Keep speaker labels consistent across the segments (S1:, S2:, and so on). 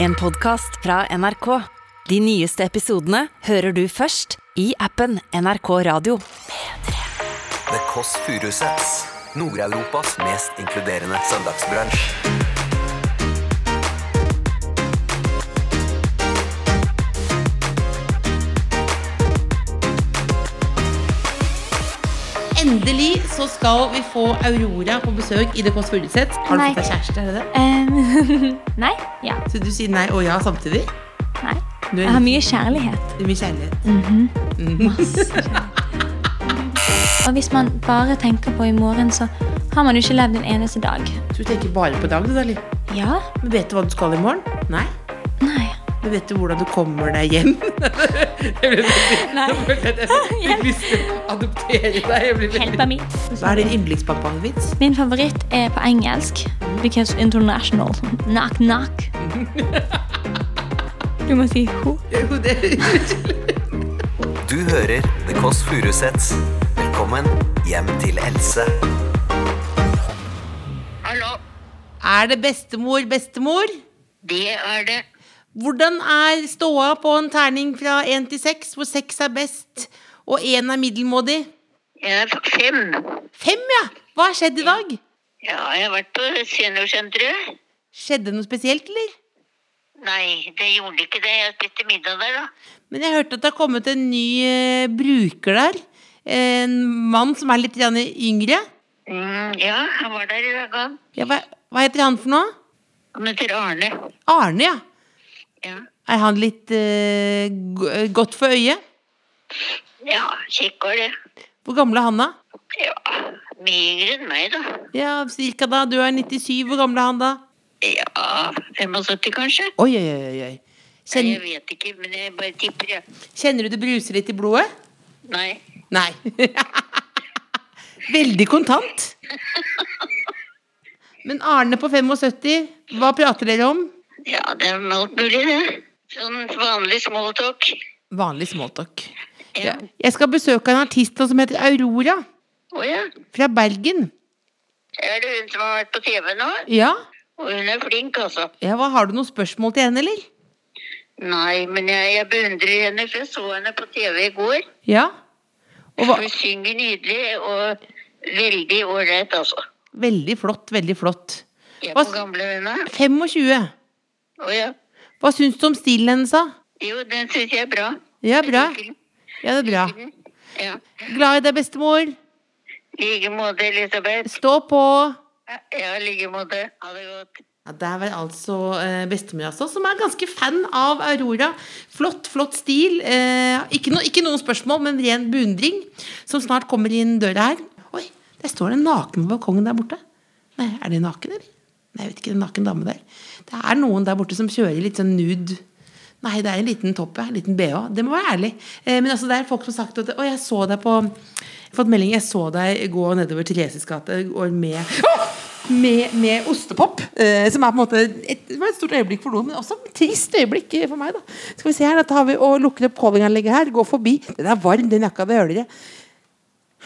S1: En podcast fra NRK. De nyeste episodene hører du først i appen NRK Radio.
S2: The Kåss Furuseths. Nord-Europas mest inkluderende søndagsbransj.
S3: Endelig så skal vi få Aurora på besøk i Det Kåss Furuseth. Har du
S4: Nei.
S3: fått deg kjæreste? Er det det?
S4: Em, nei. Ja.
S3: Så du sier nei og ja samtidig?
S4: Nei.
S3: Du
S4: Jeg har mye kjærlighet.
S3: mye kjærlighet.
S4: Masse kjærlighet. Og hvis man bare tenker på i morgen, så har man jo ikke levd en eneste dag.
S3: Så du tenker bare på dag, du, da? Liv?
S4: Ja?
S3: Men vet du hva du skal i morgen? Nei.
S4: Nei.
S3: Men vet du hvordan du kommer deg hjem? jeg ble veldig,
S4: Nei.
S3: jeg følte at jeg fikk lyst til å adoptere deg. Jeg ble veldig-
S4: Hjelp meg.
S3: Hva er din yndlingspappa-vits?
S4: Min favoritt er på engelsk. Because international. Knock, knock. Du må si ho.
S3: Jo, det-
S2: Du hører The Kåss Furuseths. Velkommen hjem til Else.
S5: Hallo,
S3: Er det bestemor, bestemor?
S5: det er det.
S3: Hvordan er ståa på en terning fra én til seks, hvor seks er best og én er middelmådig?
S5: Jeg er fem.
S3: Fem, ja! Hva har skjedd i dag?
S5: Ja, jeg har vært på seniorsenteret.
S3: Skjedde noe spesielt, eller?
S5: Nei, det gjorde ikke det. Jeg spiste middag der, da.
S3: Men jeg hørte at det har kommet en ny eh, bruker der. En mann som er litt grann yngre.
S5: Mm, ja, han var der i dag, han.
S3: Ja, hva, hva heter han for noe?
S5: Han heter Arne.
S3: Arne, ja.
S5: Ja,
S3: Er han litt eh, go- godt for øyet?
S5: ja kjekk var det.
S3: Hvor gammel er han, da?
S5: Ja, mye yngre enn meg, da.
S3: Ja, cirka da. Du er 97. Hvor gammel er han da?
S5: Ja, 75 kanskje?
S3: Oi, oi, oi. oi.
S5: Nei,
S3: Kjenner,
S5: jeg vet ikke, men jeg bare tipper, jeg.
S3: kjenner du det bruser litt i blodet?
S5: Nei.
S3: Nei. Veldig kontant. Men Arne på 75, hva prater dere om?
S5: Ja, det er alt mulig, det. Sånn vanlig smalltalk.
S3: Vanlig småtalk.
S5: Ja.
S3: Ja. Jeg skal besøke en artist nå som heter Aurora,
S5: Å ja.
S3: fra Bergen.
S5: Er det hun som har vært på TV nå?
S3: Ja?
S5: Og hun er flink, altså.
S3: ja hva, har du noen spørsmål til henne, eller?
S5: Nei, men jeg, jeg beundrer henne, for jeg så henne på TV i går.
S3: Ja? Og hva?
S5: Hun synger nydelig og veldig ålreit, altså.
S3: Veldig flott, veldig flott.
S5: Jeg
S3: Hva
S5: på
S3: s-
S5: gamle henne.
S3: 25.
S5: Å ja.
S3: Hva syns du om stilen hennes, da?
S5: Jo, den syns jeg er bra.
S3: Ja, bra.
S5: Jeg liker den.
S3: Ja, det er bra.
S5: Ja.
S3: Glad i deg, bestemor.
S5: I like måte, Elisabeth.
S3: Stå på.
S5: Ja, i like måte. Ha det godt.
S3: Ja, det er vel altså eh, bestemor altså, som er ganske fan av Aurora. Flott, flott stil. Eh, ikke, no, ikke noen spørsmål, men ren beundring. Som snart kommer inn døra her. Oi, der står det en naken på balkongen der borte. Nei, Er det en naken, eller? Nei, jeg vet ikke. Det er en naken dame der. Det er noen der borte som kjører litt sånn nude. Nei, det er en liten topp, ja. En liten bh. Det må være ærlig. Eh, men altså, det er folk som har sagt at Å, jeg så deg på jeg har Fått melding. Jeg så deg gå nedover Thereses gate og med med, med ostepop, eh, som er på en måte et, det var et stort øyeblikk for noen, men også et trist øyeblikk eh, for meg. da. Skal vi se her, da tar vi og lukker opp callinganlegget her, går forbi. Den er varm, den jakka, det høler jeg.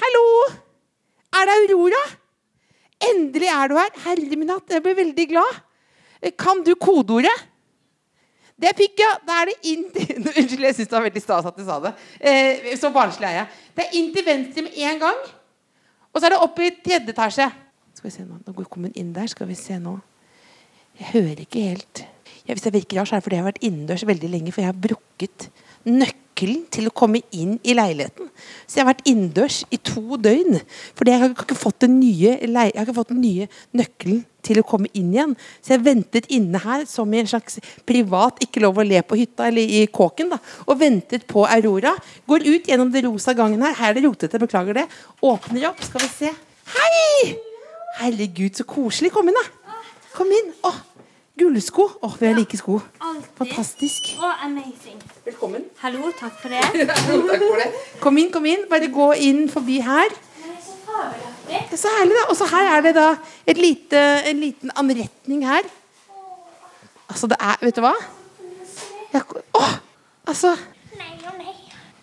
S3: Hallo! Er det Aurora? Endelig er du her. Herre min hatt, jeg blir veldig glad. Eh, Kan du kodeordet? Det fikk jeg. Da er det inn til Nå, Unnskyld, jeg syns det var veldig stas at du sa det. Eh, så barnslig er jeg. Det er inn til venstre med en gang. Og så er det opp i tredje etasje. Skal vi se Nå Nå kommer hun inn der. Skal vi se nå. Jeg hører ikke helt. Ja, hvis jeg virker rar, så er det fordi jeg har vært innendørs veldig lenge. For jeg har brukket nøkkelen til å komme inn i leiligheten. Så jeg har vært innendørs i to døgn. Fordi jeg har ikke fått den nye, lei- jeg har ikke fått den nye nøkkelen til å komme inn igjen. Så jeg ventet inne her som i en slags privat ikke lov å le på hytta eller i kåken. da, Og ventet på Aurora. Går ut gjennom den rosa gangen her. Her er det rotete, beklager det. Åpner opp, skal vi se. Hei! Herregud, så koselig. Kom inn, da. Kom inn. Åh, gullsko. Åh, vi har like sko.
S6: Alltid.
S3: Fantastisk.
S6: Å, amazing.
S3: Velkommen.
S6: Hallo, takk for det.
S3: Takk for det. Kom inn, kom inn. Bare gå inn forbi her. Det er Så herlig, da. Og så her er det da et lite, en liten anretning her. Altså, det er Vet du hva? Jeg, åh, altså
S6: Nei og nei.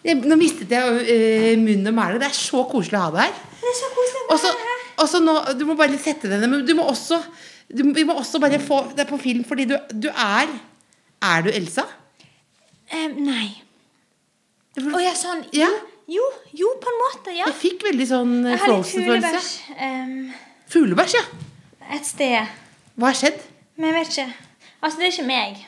S3: jeg, Nå mistet jeg eh, munnen og mælet. Det er så koselig å ha deg her.
S6: Det er så koselig å
S3: Og så,
S6: være her.
S3: og så nå, Du må bare sette deg ned, men du må også du, Vi må også bare få deg på film, fordi du, du er Er du Elsa?
S4: Eh, nei. Å ja, sånn
S3: Ja.
S4: Jo, jo, på en måte. Ja.
S3: Jeg fikk veldig sånn eh,
S4: Jeg har litt
S3: Frozen-følelse.
S4: fuglebæsj ehm,
S3: Fuglebæsj, ja.
S4: et sted.
S3: Hva har skjedd?
S4: Men jeg vet ikke. Altså, det er ikke meg.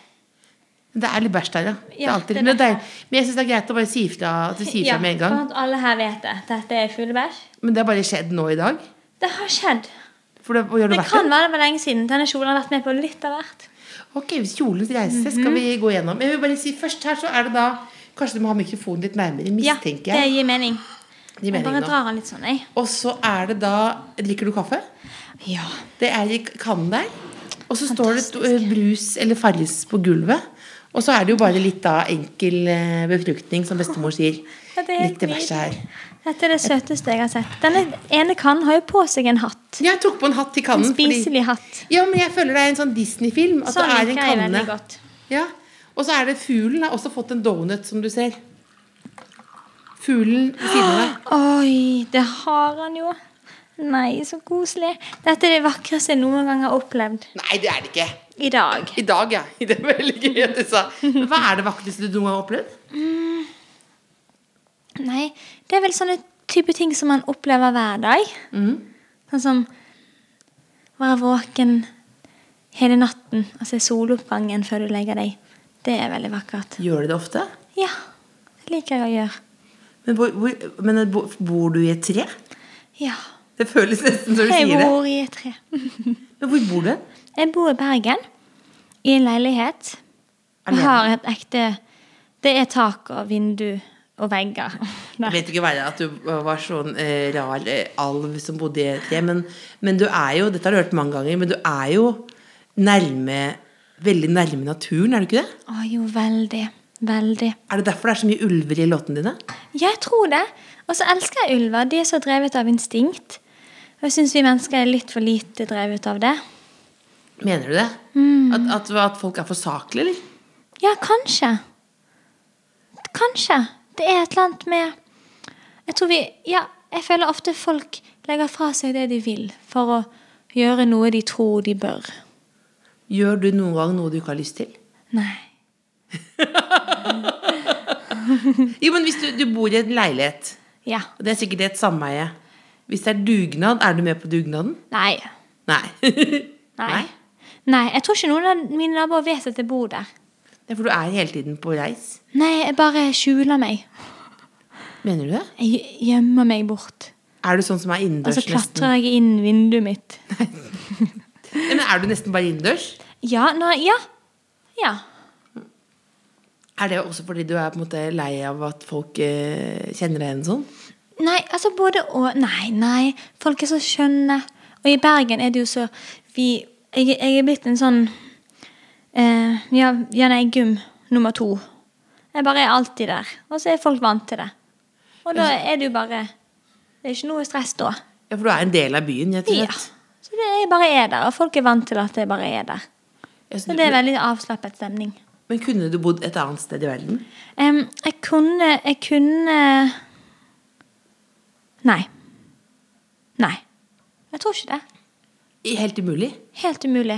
S3: Det er litt bæsj der, ja. Det er
S4: Ja,
S3: alltid.
S4: det er
S3: Men, det er,
S4: det.
S3: men jeg syns det er greit å bare si ifra, at du sier ifra med en gang.
S4: for at alle her vet det. Dette er fuglebæsj.
S3: Men det har bare skjedd nå i dag.
S4: Det har skjedd.
S3: For det, gjør det,
S4: Det
S3: verdt
S4: kan være det var lenge siden. Denne kjolen har vært med på litt av hvert.
S3: Ok, hvis kjolens reise skal vi
S4: Mhm.
S3: gå gjennom. Jeg vil bare si først her så er det da Kanskje du må ha mikrofonen litt nærmere,
S4: Ja,
S3: mistenker
S4: det
S3: jeg.
S4: gir mening.
S3: Gir
S4: Jeg
S3: mening
S4: bare
S3: nå.
S4: drar den litt sånn, jeg.
S3: Og så er det da Drikker du kaffe?
S4: Ja.
S3: Det er i kannen der. Og så står det to- eh, brus eller Farris på gulvet. Og så er det jo bare litt da enkel eh, befruktning, som bestemor sier.
S4: Ja, det er helt
S3: litt diverse her.
S4: Dette er det søteste jeg har sett. Denne ene kannen har jo på seg en hatt.
S3: Jeg tok på en hatt til kannen.
S4: En spiselig hatt.
S3: Ja, men jeg føler det er en sånn Disney-film. At
S4: Sånn
S3: det er en
S4: liker jeg
S3: kanne.
S4: veldig godt.
S3: Ja. Og så er det fuglen har også fått en donut, som du ser. Fuglen ved siden av deg.
S4: Oi, det har han jo. Nei, så koselig. Dette er det vakreste jeg noen gang har opplevd.
S3: Nei, det er det ikke.
S4: I dag.
S3: I dag, ja. Det er veldig gøy at du sa. Hva er det vakreste du noen gang har opplevd?
S4: Nei, det er vel sånne type ting som man opplever hver dag.
S3: Mm.
S4: Sånn som være våken hele natten og se soloppgangen før du legger deg. Det er veldig vakkert.
S3: Gjør du det ofte?
S4: Ja, det liker jeg å gjøre.
S3: Men, hvor, hvor, men bo- bor du i et tre?
S4: Ja.
S3: Det føles nesten som du
S4: Jeg
S3: sier det.
S4: bor i et tre.
S3: Men hvor bor du?
S4: Jeg bor i Bergen, i en leilighet. Og
S3: Alene?
S4: har et ekte Det er tak og vindu og vegger.
S3: Jeg vet ikke være at du var sånn eh, rar eh, alv som bodde i et tre, men, men du er jo, dette har du hørt mange ganger, men du er jo nærme, veldig nærme naturen, er du ikke det?
S4: Å jo, veldig. Veldig.
S3: Er det derfor det er så mye ulver i låtene dine?
S4: Jeg tror det. Og så elsker jeg ulver. De er så drevet av instinkt. Og jeg syns vi mennesker er litt for lite drevet av det.
S3: Mener du det?
S4: Mm.
S3: At, at, at folk er for saklige, eller?
S4: Ja, kanskje. Kanskje. Det er et eller annet med Jeg tror vi Ja, jeg føler ofte folk legger fra seg det de vil for å gjøre noe de tror de bør.
S3: Gjør du noen gang noe du ikke har lyst til?
S4: Nei.
S3: Jo, men hvis du, du bor i en leilighet,
S4: Ja.
S3: og det er sikkert et sameie Hvis det er dugnad, er du med på dugnaden?
S4: Nei.
S3: Nei.
S4: Nei. Nei, Jeg tror ikke noen av mine naboer vet at jeg bor der.
S3: Det er for du er hele tiden på reis.
S4: Nei, jeg bare skjuler meg.
S3: Mener du det?
S4: Jeg gj- gjemmer meg bort.
S3: Er du sånn som er
S4: Og
S3: innendørs
S4: så
S3: nesten?
S4: klatrer jeg inn vinduet mitt.
S3: Ja, Men er du nesten bare innendørs?
S4: Ja, nei, ja. Ja.
S3: Er det også fordi du er på en måte lei av at folk eh, kjenner deg igjen sånn?
S4: Nei, altså både og Nei, nei. Folk er så skjønne. Og i Bergen er det jo så vi, jeg, jeg er blitt en sånn eh, ja, ja, nei, gym nummer to. Jeg bare er alltid der. Og så er folk vant til det. Og da er det jo bare Det er ikke noe stress da.
S3: Ja, for du er en del av byen, rett og
S4: Ja.
S3: slett.
S4: Så det, jeg bare er der, og folk er vant til at jeg bare er der.
S3: Ja, så
S4: Så
S3: du-
S4: det er veldig avslappet stemning.
S3: Men kunne du bodd et annet sted i verden?
S4: Em, jeg kunne Jeg kunne Nei. Nei. Jeg tror ikke det.
S3: I- Helt umulig.
S4: Helt umulig.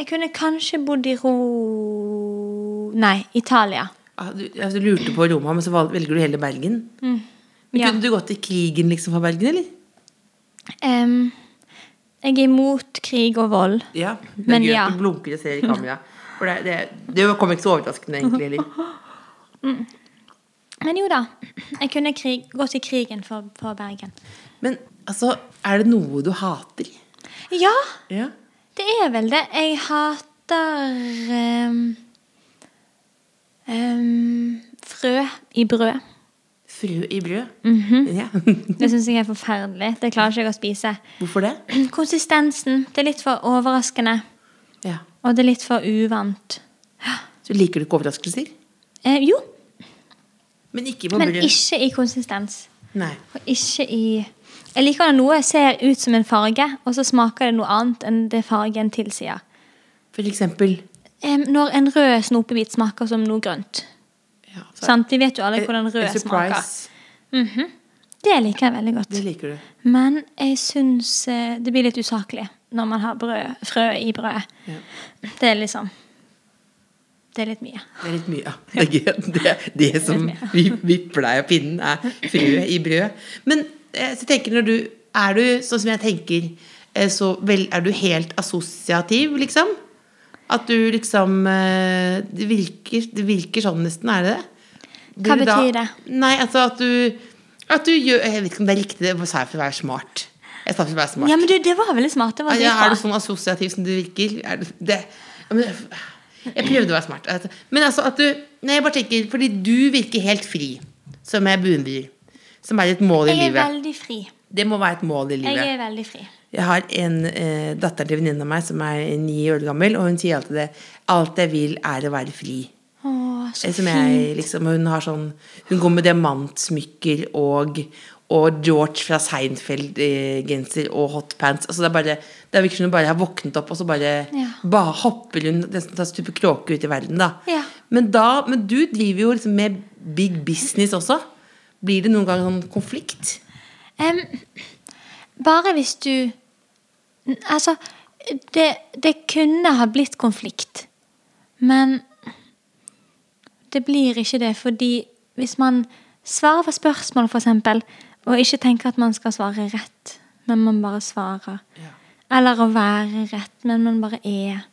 S4: Jeg kunne kanskje bodd i Ro... Nei, Italia.
S3: Ah, Du, ja, du lurte på Roma, men så valg- velger du heller Bergen. Men
S4: Ja.
S3: Kunne du gått i krigen liksom fra Bergen, eller?
S4: Em, jeg er imot krig og vold.
S3: Ja. Det er
S4: Men
S3: gøy at
S4: ja.
S3: du blunker og ser i kamera. For det, det, det kom ikke så overraskende, egentlig. Eller?
S4: Men jo da, jeg kunne krig, gått i krigen for, for Bergen.
S3: Men altså, er det noe du hater?
S4: Ja,
S3: Ja.
S4: det er vel det. Jeg hater em, em, frø i brød.
S3: Frø i brød?
S4: Mhm.
S3: ja.
S4: Det syns jeg er forferdelig. Det klarer ikke jeg å spise.
S3: Hvorfor det?
S4: Konsistensen. Det er litt for overraskende.
S3: Ja.
S4: Og det er litt for uvant.
S3: Så liker du ikke overraskelser?
S4: Eh, jo,
S3: Men ikke på
S4: men
S3: brød?
S4: ikke i konsistens.
S3: Nei.
S4: Og ikke i Jeg liker når noe ser ut som en farge, og så smaker det noe annet enn det fargen tilsier.
S3: For eksempel
S4: Em, når en rød snopebit smaker som noe grønt.
S3: ja, så-
S4: Sant? Vi vet jo alle
S3: Eh,
S4: hvordan
S3: eh,
S4: rød smaker.
S3: surprise.
S4: Det liker jeg veldig godt.
S3: Det liker du.
S4: Men jeg syns eh, det blir litt usaklig når man har brød, frø i brødet.
S3: Ja.
S4: Det er liksom Det er litt mye.
S3: Det er litt mye, ja. Det, er gøy. det, det som vi vipper deg av pinnen, er frøet i brød. Men eh, så tenker jeg når du Er du sånn som jeg tenker, eh, så vel, er du helt assosiativ, liksom? At du liksom eh, Det virker, det virker sånn nesten, er det det?
S4: Hva
S3: Blir du
S4: betyr det?
S3: Nei, altså at du At du gjør Jeg vet ikke om det er riktig, det sa jeg for å være smart. Jeg sa for å være smart.
S4: Ja, men du, det var veldig smart. Det var
S3: Ja, er du
S4: dritbra.
S3: sånn assosiativ som du virker? Er du det? Ja, men, jeg prøvde å være smart. Altså. Men altså at du Nei, jeg bare tenker, fordi du virker helt fri, som jeg beundrer. Som er et mål i
S4: Jeg er
S3: livet.
S4: veldig fri.
S3: Det må være et mål i
S4: Jeg
S3: livet.
S4: er veldig fri.
S3: Jeg har en eh, datter til venninne av meg som er ni år gammel, og hun sier alltid det. Alt jeg vil, er å være fri.
S4: Å, så
S3: Som jeg, liksom, hun, har sånn, hun går med diamantsmykker og, og George fra Seinfeld-genser og hotpants. Altså, det, er bare, det er virkelig som hun bare har våknet opp, og så bare,
S4: Ja.
S3: bare hopper hun nesten tar stupe kråke ut i verden. Da.
S4: Ja.
S3: Men, da, men du driver jo liksom med big business også. Blir det noen gang sånn konflikt?
S4: Em, bare hvis du N- Altså, det, det kunne ha blitt konflikt, men det blir ikke det, fordi hvis man svarer på spørsmål, for eksempel, og ikke tenker at man skal svare rett, men man bare svarer, eller å være rett, men man bare er,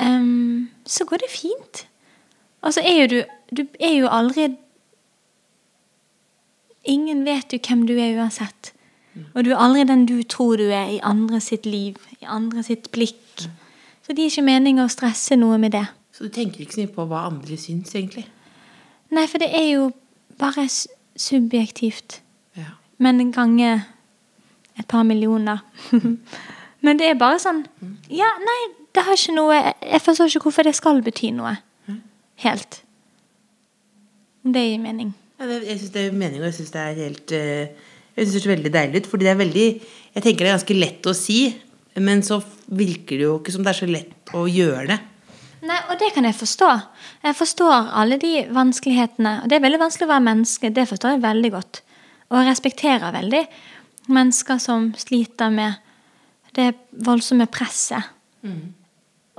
S4: em, så går det fint. Altså er jo du Du er jo aldri Ingen vet jo hvem du er uansett. Og du er aldri den du tror du er i andre sitt liv, i andre sitt blikk. Så det gir ikke mening å stresse noe med det.
S3: Så du tenker ikke så mye på hva andre syns, egentlig?
S4: Nei, for det er jo bare s- subjektivt.
S3: Ja.
S4: Men en gange et par millioner. Men det er bare sånn Ja, nei, det har ikke noe Jeg forstår ikke hvorfor det skal bety noe. Helt. Om det gir mening.
S3: Ja, det, jeg syns det er mening, og jeg syns det er helt eh, Jeg synes det ser veldig deilig ut. Fordi det er veldig Jeg tenker det er ganske lett å si, men så virker det jo ikke som det er så lett å gjøre det.
S4: Nei, og det kan jeg forstå. Jeg forstår alle de vanskelighetene. Og det er veldig vanskelig å være menneske, det forstår jeg veldig godt. Og jeg respekterer veldig mennesker som sliter med det voldsomme presset.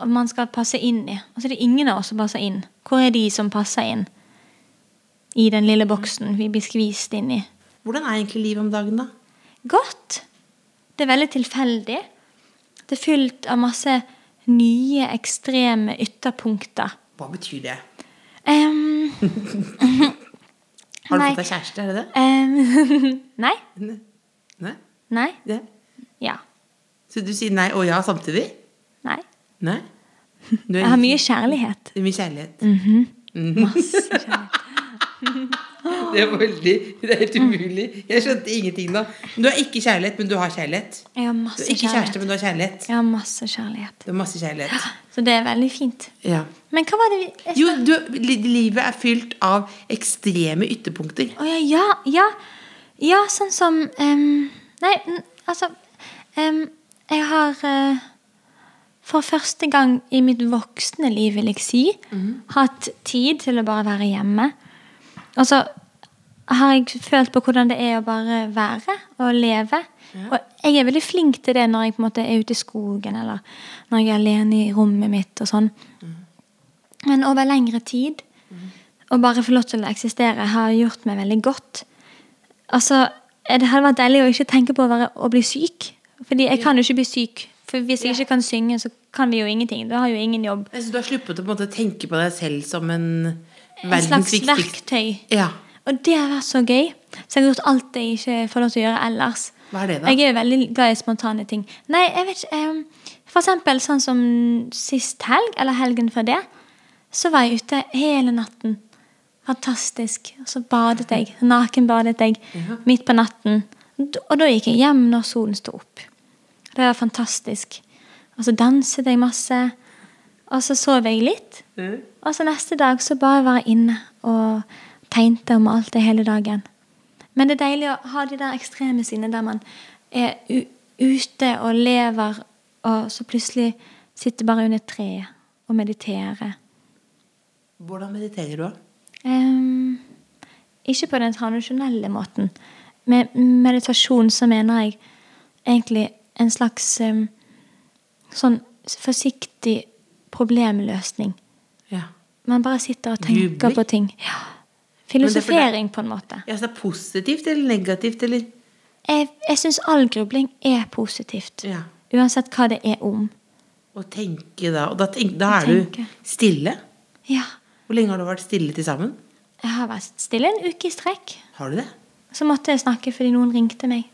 S4: Og man skal passe inn i. Og så er det ingen av oss som passer inn. Hvor er de som passer inn? I den lille boksen vi blir skvist inn i.
S3: Hvordan er egentlig livet om dagen, da?
S4: Godt. Det er veldig tilfeldig. Det er fylt av masse nye, ekstreme ytterpunkter.
S3: Hva betyr det?
S4: Ehm,
S3: Har du
S4: Nei.
S3: fått deg kjæreste, er det det?
S4: ehm, nei.
S3: Ne- Nei?
S4: Nei.
S3: Det.
S4: Ja.
S3: Så du sier nei og ja samtidig?
S4: Nei.
S3: Nei? Du er
S4: Jeg har mye kjærlighet.
S3: det er mye kjærlighet. Mhm.
S4: Masse kjærlighet.
S3: Det er veldig Det er
S4: Mm.
S3: helt umulig. Jeg skjønte ingenting nå. Du har ikke kjærlighet, men du har kjærlighet.
S4: Jeg har
S3: Du
S4: masse
S3: er ikke kjæreste,
S4: kjærlighet.
S3: men du har kjærlighet.
S4: Jeg har masse kjærlighet.
S3: Du har masse kjærlighet.
S4: Så det er veldig fint.
S3: Ja.
S4: Men hva var det vi jeg
S3: Jo,
S4: snak-
S3: du, li- livet er fylt av ekstreme ytterpunkter.
S4: Å ja, ja, ja. Ja, sånn som ehm, Nei, n- altså ehm, Jeg har eh, for første gang i mitt voksne liv, vil jeg si, hatt tid til å bare være hjemme. Og så har jeg følt på hvordan det er å bare være og leve. Og jeg er veldig flink til det når jeg på en måte er ute i skogen, eller når jeg er alene i rommet mitt og sånn. Men over lengre tid, å bare få lov til å eksistere, har gjort meg veldig godt. Altså, Det hadde vært deilig å ikke tenke på å, være, å bli syk. Fordi jeg kan jo ikke bli syk. For hvis jeg ikke kan synge, så kan vi jo ingenting. Da har jeg jo ingen jobb.
S3: Jeg synes Altså, du har sluppet å på en måte tenke på deg selv som en
S4: En
S3: verdens
S4: slags
S3: viktigste
S4: verktøy.
S3: ja.
S4: Og det har vært så gøy. Så jeg har gjort alt det jeg ikke får lov til å gjøre ellers.
S3: Hva er det da?
S4: Jeg er jo veldig glad i spontane ting. Nei, jeg vet ikke ehm, For eksempel sånn som sist helg, eller helgen før det, så var jeg ute hele natten. Fantastisk. Og så badet jeg. Nakenbadet jeg midt på natten. D- Og da gikk jeg hjem når solen sto opp. Det var fantastisk. Og så danset jeg masse. Og så sov jeg litt. Og så neste dag så bare være inne og tegnte og malte hele dagen. Men det er deilig å ha de der ekstreme sidene der man er u ute og lever, og så plutselig sitter bare under et tre og mediterer.
S3: Hvordan mediterer du?
S4: Ehm, ikke på den tradisjonelle måten. Med meditasjon så mener jeg egentlig en slags ehm, sånn forsiktig problemløsning.
S3: Ja.
S4: Man bare sitter og tenker
S3: Jubler.
S4: på ting. Ja.
S3: det er fordi-
S4: Filosofering, på en måte.
S3: Ja, så det er positivt eller negativt eller
S4: Jeg, jeg syns all grubling er positivt.
S3: Ja.
S4: Uansett hva det er om.
S3: Å tenke da. Og da, tenk, da
S4: Å
S3: er du
S4: tenke.
S3: stille.
S4: Ja.
S3: Hvor lenge har du vært stille til sammen?
S4: Jeg har vært stille en uke i strekk.
S3: Har du det?
S4: Så måtte jeg snakke fordi noen ringte meg.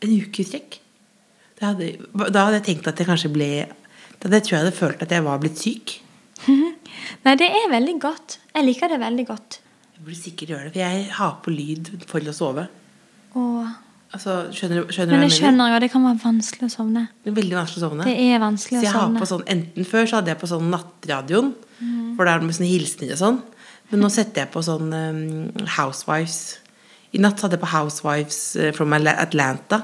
S3: En uke i strekk? Da hadde, da hadde jeg tenkt at jeg kanskje ble Da hadde jeg tror jeg hadde følt at jeg var blitt syk.
S4: Nei, det er veldig godt. Jeg liker det veldig godt.
S3: Jeg burde sikkert gjøre det, for jeg har på lyd for å sove.
S4: Og,
S3: Altså, skjønner, du- skjønner du hva
S4: men jeg
S3: jeg mener?
S4: skjønner jo, det kan være vanskelig å sovne.
S3: Det er veldig vanskelig å sovne.
S4: Det er vanskelig
S3: så
S4: å
S3: jeg har
S4: sovne. Mm.
S3: på sånn, enten Før så hadde jeg på sånn nattradioen, for da er det med sånne hilsener og sånn. Men nå setter jeg på sånn um, Housewives. I natt så hadde jeg på Housewives eh, from Atla- Atlanta.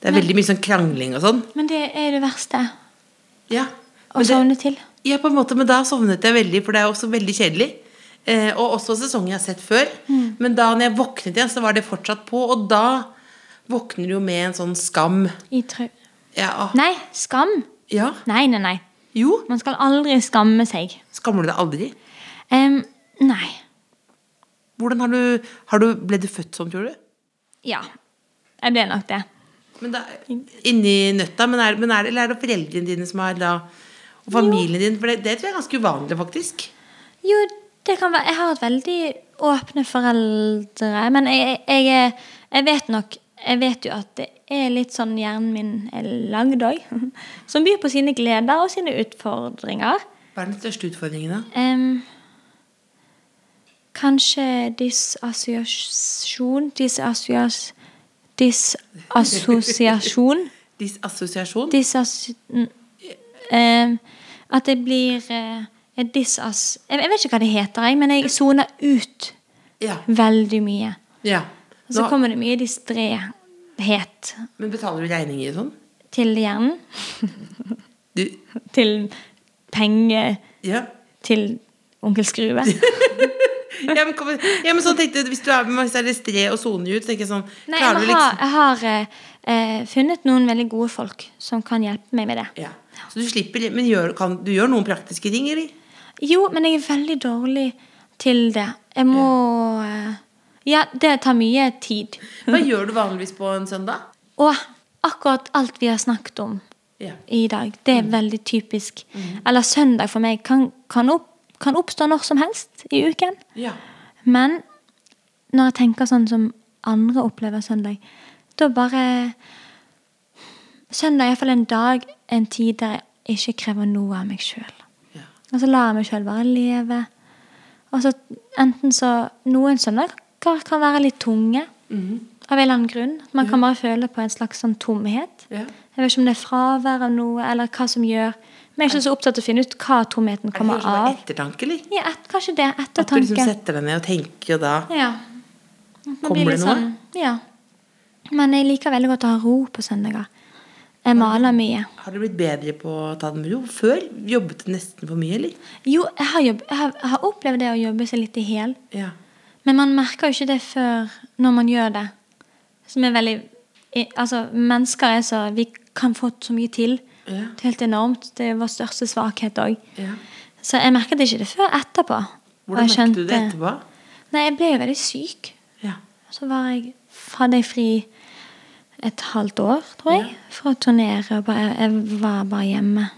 S3: Det er veldig mye sånn krangling og sånn.
S4: Men det er jo det verste
S3: Ja.
S4: å
S3: Men det-
S4: sovne til.
S3: Ja, på en måte, men da sovnet jeg veldig, for det er også veldig kjedelig. Eh, og også sesonger jeg har sett før.
S4: Mm.
S3: Men da når jeg våknet igjen, så var det fortsatt på. Og da våkner du jo med en sånn skam.
S4: I trau...
S3: Ja. ah,
S4: Nei, skam.
S3: ja.
S4: Nei, nei, nei.
S3: Jo.
S4: Man skal aldri skamme seg.
S3: Skammer du deg aldri?
S4: Em, nei.
S3: Hvordan har du, har du Ble du født sånn, tror du?
S4: Ja. Jeg ble nok det.
S3: Men da, inni nøtta, men er, men er det, eller er det foreldrene dine som har da Og familien din? For det, det tror jeg er ganske uvanlig, faktisk.
S4: Jo, det kan være Jeg har et veldig åpne foreldre. Men jeg, jeg, er- jeg vet nok Jeg vet jo at det er litt sånn hjernen min er lagd òg. Som byr på sine gleder og sine utfordringer.
S3: Hva er den største utfordringen, da?
S4: Em, kanskje disassosiasjon Disassosias... Disassosiasjon.
S3: Disassosiasjon?
S4: Disass... n- em, eh, at det blir eh, en disass... Jeg, jeg vet ikke hva det heter, jeg, men jeg soner ut
S3: Ja.
S4: veldig mye.
S3: ja.
S4: Og så
S3: Nå,
S4: kommer det mye distréhet
S3: men betaler du regninger og sånn?
S4: til hjernen.
S3: Du,
S4: Til penger
S3: ja.
S4: til onkel Skrue.
S3: Ja, men, kom, ja, men sånn tenkte jeg, Hvis du er med meg, så er det stre og soner ut. så tenker jeg sånn,
S4: Nei, jeg
S3: klarer du
S4: har,
S3: liksom
S4: jeg har eh, eh, funnet noen veldig gode folk som kan hjelpe meg med det.
S3: ja. Så du slipper Men gjør, kan, du gjør noen praktiske ting, eller?
S4: Jo, men jeg er veldig dårlig til det. Jeg må eh, Ja, det tar mye tid.
S3: Hva gjør du vanligvis på en søndag?
S4: Og akkurat alt vi har snakket om
S3: Ja.
S4: i dag, det er veldig typisk. Eller søndag for meg kan, kan, opp, kan oppstå når som helst i uken.
S3: ja.
S4: Men når jeg tenker sånn som andre opplever søndag, da bare Søndag er iallfall en dag, en tid der jeg ikke krever noe av meg sjøl.
S3: Ja.
S4: Og så lar jeg meg sjøl bare leve. Og så enten så Noen søndager kan være litt tunge
S3: Mhm.
S4: av en eller annen grunn. At man kan bare føle på en slags sånn tomhet.
S3: Ja.
S4: Jeg vet ikke om det er fravær av noe, eller hva som gjør Men jeg er ikke så opptatt av å finne ut hva tomheten
S3: Er det
S4: kommer
S3: kanskje bare
S4: av.
S3: ettertanke, eller?
S4: Ja, et, kanskje det.
S3: At du
S4: Ettertanke.
S3: liksom setter deg ned og tenker, og da
S4: Ja. Man
S3: Kommer
S4: blir
S3: det
S4: litt
S3: noe?
S4: Sånn, ja. Men jeg liker veldig godt å ha ro på søndager. Jeg maler mye.
S3: Har du blitt bedre på å ta det med ro? Før jobbet du nesten for mye, eller?
S4: Jo, jeg har, jobb, jeg har, jeg har opplevd det å jobbe seg litt i hæl.
S3: Ja.
S4: Men man merker jo ikke det før når man gjør det. Som er veldig i- Altså, mennesker er så Vi kan få så mye til.
S3: Ja.
S4: Det er helt enormt. Det er vår største svakhet òg.
S3: Ja.
S4: Så jeg merket ikke det før etterpå. Og
S3: Hvordan
S4: jeg
S3: merket du det
S4: skjønte-
S3: etterpå?
S4: Nei, jeg ble jo veldig syk.
S3: Ja.
S4: Så var jeg, hadde jeg fri et halvt år, tror jeg, for å turnere. og Bare, jeg var bare hjemme.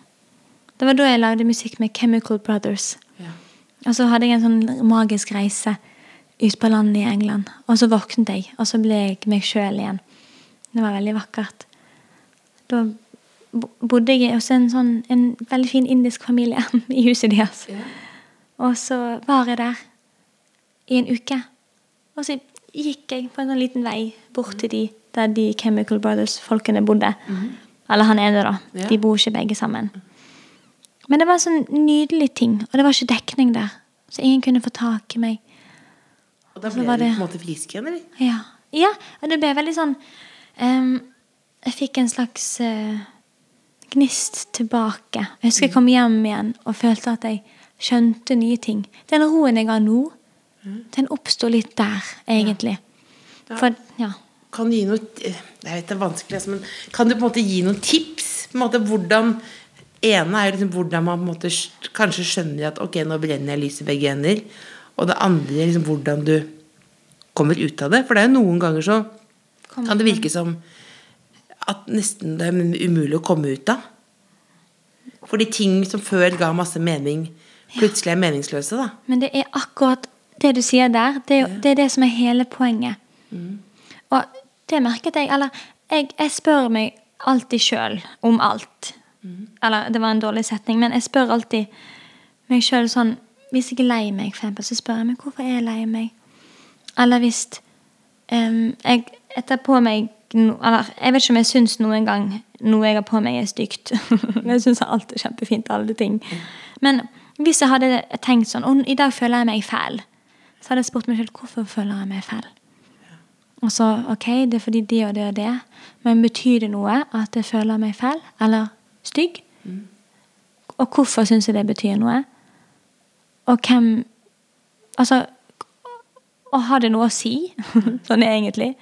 S4: Det var da jeg lagde musikk med Chemical Brothers.
S3: Ja.
S4: Og så hadde jeg en sånn magisk reise ut på landet i England. Og så våknet jeg, og så ble jeg meg sjøl igjen. Det var veldig vakkert. Da bo- bodde jeg hos en, sånn, en veldig fin indisk familie i huset deres. Og så var jeg der i en uke. Og så gikk jeg på en sånn liten vei bort til de der de Chemical Brothers-folkene bodde. Eller han ene, da.
S3: Ja.
S4: De bor ikke begge sammen. Men det var en sånn nydelig ting, og det var ikke dekning der. Så ingen kunne få tak i meg.
S3: Og da
S4: Så
S3: ble
S4: var
S3: du på
S4: det-
S3: en måte frisk igjen, eller?
S4: Ja, ja og det ble veldig sånn ehm, Jeg fikk en slags eh, gnist tilbake. Jeg husker jeg kom hjem igjen og følte at jeg skjønte nye ting. Den roen jeg har nå, den oppsto litt der, egentlig. For, ja.
S3: kan du eh, gi noe Jeg vet det er vanskelig, altså, men kan du på en måte gi noen tips? På en måte hvordan ene er jo liksom hvordan man på en måte sk- kanskje skjønner at ok, nå brenner jeg lys i begge ender. Og det andre er liksom hvordan du kommer ut av det. For det er jo noen ganger så
S4: Kommer
S3: kan det virke som at nesten det er umulig å komme ut av. Fordi ting som før ga masse mening, plutselig er meningsløse, da.
S4: Men det er akkurat det du sier der, det er, jo- det, er det som er hele poenget. Og det merket jeg, eller jeg, jeg spør meg alltid sjøl om alt. Eller det var en dårlig setning, men jeg spør alltid meg sjøl sånn Hvis jeg er lei meg, for eksempel, så spør jeg meg hvorfor er jeg lei meg. Eller hvis em, jeg jeg tar på meg no, Eller jeg vet ikke om jeg syns noen gang noe jeg har på meg, er stygt. jeg syns alt er kjempefint, alle ting. Men hvis jeg hadde tenkt sånn «Å, i dag føler jeg meg fæl, så hadde jeg spurt meg selv hvorfor føler jeg meg fæl. Og så OK, det er fordi det og det og det, men betyr det noe at jeg føler meg fæl eller stygg? Og hvorfor syns jeg det betyr noe? Og hvem Altså og har det noe å si? sånn egentlig.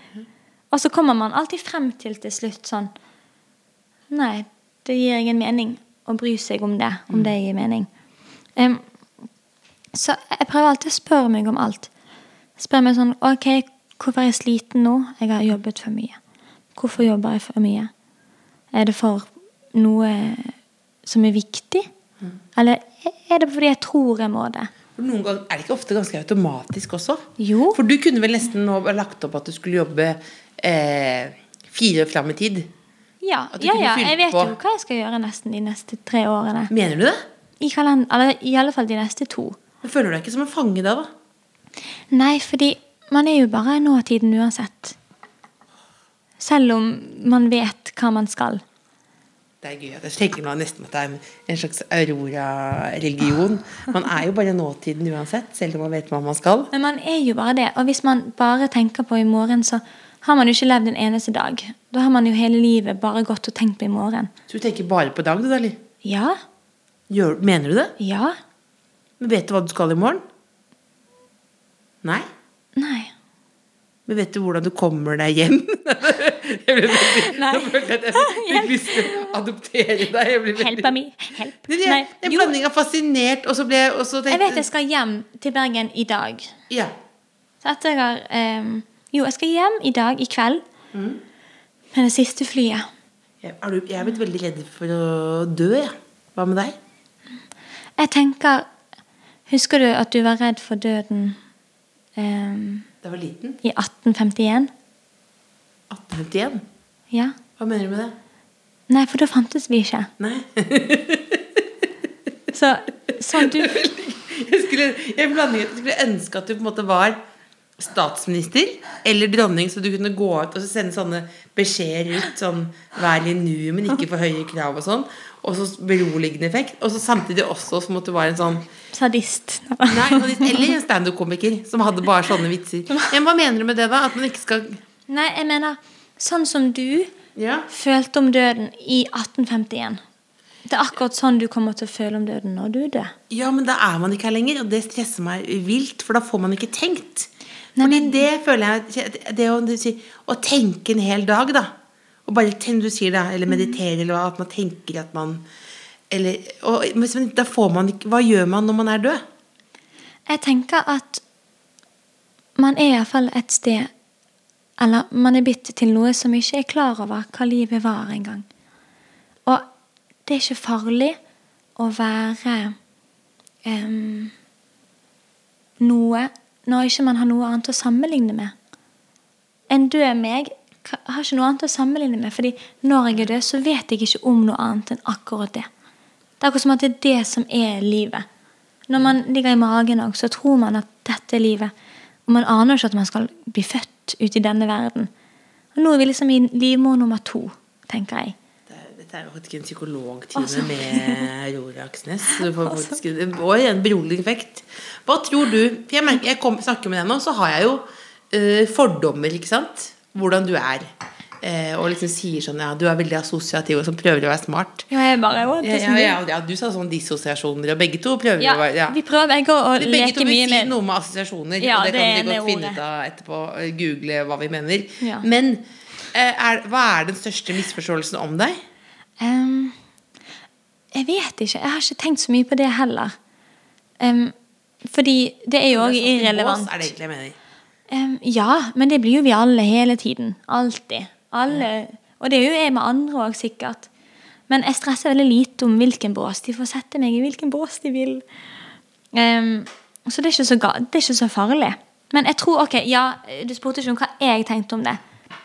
S4: Og så kommer man alltid frem til til slutt sånn Nei, det gir ingen mening å bry seg om det, om det gir mening. Em, så jeg prøver alltid å spørre meg om alt. Spør meg sånn OK, hvorfor er jeg sliten nå? Jeg har jobbet for mye. Hvorfor jobber jeg for mye? Er det for noe som er viktig? Eller er det fordi jeg tror jeg må det?
S3: For noen ganger Er det ikke ofte ganske automatisk også?
S4: Jo.
S3: For du kunne vel nesten nå ha lagt opp at du skulle jobbe eh, fire år fram i tid?
S4: Ja,
S3: At du
S4: ja,
S3: kunne
S4: ja.
S3: fylt
S4: jeg vet
S3: på.
S4: jo hva jeg skal gjøre nesten de neste tre årene.
S3: Mener du det?
S4: I kalend- eller i alle fall de neste to.
S3: Men Føler du deg ikke som en fange da, da?
S4: Nei, fordi man er jo bare i nåtiden uansett. Selv om man vet hva man skal.
S3: Det er gøy. at Jeg tenker nå nesten at det er en- en slags aurora-religion. Man er jo bare nåtiden uansett, selv om man vet hva man skal.
S4: Men man er jo bare det. Og hvis man bare tenker på i morgen, så har man jo ikke levd en eneste dag. Da har man jo hele livet bare gått og tenkt på i morgen.
S3: Så du tenker bare på dag, du, da? eller?
S4: Ja,
S3: Gjør, mener du det?
S4: ja,
S3: Men vet du hva du skal i morgen? Nei?
S4: nei.
S3: Men vet du hvordan du kommer deg hjem? jeg ble veldig,
S4: Nei.
S3: Nå følte jeg at jeg fikk lyst til å adoptere deg. Jeg ble veldig-
S4: Hjelpa mi. Hjelp.
S3: Det er
S4: Nei.
S3: en
S4: Jo,
S3: blanding av fascinert, og så ble jeg og så tenkte
S4: jeg vet jeg skal hjem til Bergen i dag.
S3: Ja.
S4: Så at jeg har ehm, Jo, jeg skal hjem i dag, i kveld. Med det siste flyet.
S3: Jeg, er du, jeg er blitt veldig redd for å dø, jeg. Hva med deg?
S4: Jeg tenker Husker du at du var redd for døden ehm,
S3: Da jeg var liten.
S4: i 1851?
S3: 1851.
S4: Ja?
S3: Hva mener du med det?
S4: Nei, for da fantes vi ikke.
S3: Nei.
S4: Så sånn du
S3: Jeg skulle, jeg, blanding, jeg skulle ønske at du på en måte var statsminister eller dronning, så du kunne gå ut og så sende sånne beskjeder ut. Sånn 'vær i nuet, men ikke for høye krav' og sånn. Og så beroligende effekt. Og så samtidig også som at du var en sånn
S4: Sadist.
S3: Nei, og litt- eller en standup-komiker som hadde bare sånne vitser. Ja, men hva mener du med det, da? At man ikke skal
S4: Nei, jeg mener sånn som du
S3: Ja.
S4: følte om døden i 1851. Det er akkurat sånn du kommer til å føle om døden når du er død.
S3: Ja, men da er man ikke her lenger, og det stresser meg vilt, for da får man ikke tenkt.
S4: Nei,
S3: Fordi
S4: men-
S3: det føler jeg Det å, du sier, å tenke en hel dag, da. Og bare tenke, du sier det, eller meditere, eller hva, at man tenker at man eller, og, men så- da får man ikke Hva gjør man når man er død?
S4: Jeg tenker at man er iallfall et sted Eller man er blitt til noe som ikke er klar over hva livet var engang. Og det er ikke farlig å være em, noe når ikke man har noe annet å sammenligne med. En død meg ka- har ikke noe annet å sammenligne med, fordi når jeg er død, så vet jeg ikke om noe annet enn akkurat det. Det er akkurat som at det er det som er livet. Når man ligger i magen også, så tror man at dette er livet. Og man aner ikke at man skal bli født ute i denne verden. Og nå er vi liksom i livmor nummer to, tenker jeg.
S3: Det er- Dette er jo faktisk en psykologtime med Aurora Aksnes. så Du får faktisk og en beroligende effekt. Hva tror du For jeg, merker, jeg kom, snakker med deg nå, så har jeg jo eh, fordommer, ikke sant? Hvordan du er. Eh, og liksom sier sånn Ja, du er veldig assosiativ og sånn, prøver å være smart.
S4: Ja, jeg bare «Å,
S3: Ja,
S4: tusen
S3: ja, ja,
S4: takk».
S3: ja, du sa sånn dissosiasjoner, og begge to prøver å være ja.
S4: Ja, vi prøver begge å
S3: Vi begge to vil
S4: leke mye
S3: si
S4: med
S3: noe med assosiasjoner,
S4: Ja,
S3: og det,
S4: det
S3: kan vi
S4: er
S3: godt
S4: det
S3: finne ut
S4: ordet.
S3: av etterpå. eh, Google hva vi mener.
S4: Ja.
S3: Men eh, er, hva er den største misforståelsen om deg?
S4: Em, Jeg vet ikke. Jeg har ikke tenkt så mye på det heller. Em, fordi det er jo òg irrelevant.
S3: Bås er det egentlig jeg mener.
S4: Em, ja, men det blir jo vi alle hele tiden. Alltid. Alle. Og det er jo jeg med andre òg, sikkert. Men jeg stresser veldig lite om hvilken bås. De får sette meg i hvilken bås de vil. Em, så det er, ikke så ga det er ikke så farlig. Men jeg tror, ok, ja, du spurte ikke om hva jeg tenkte om det.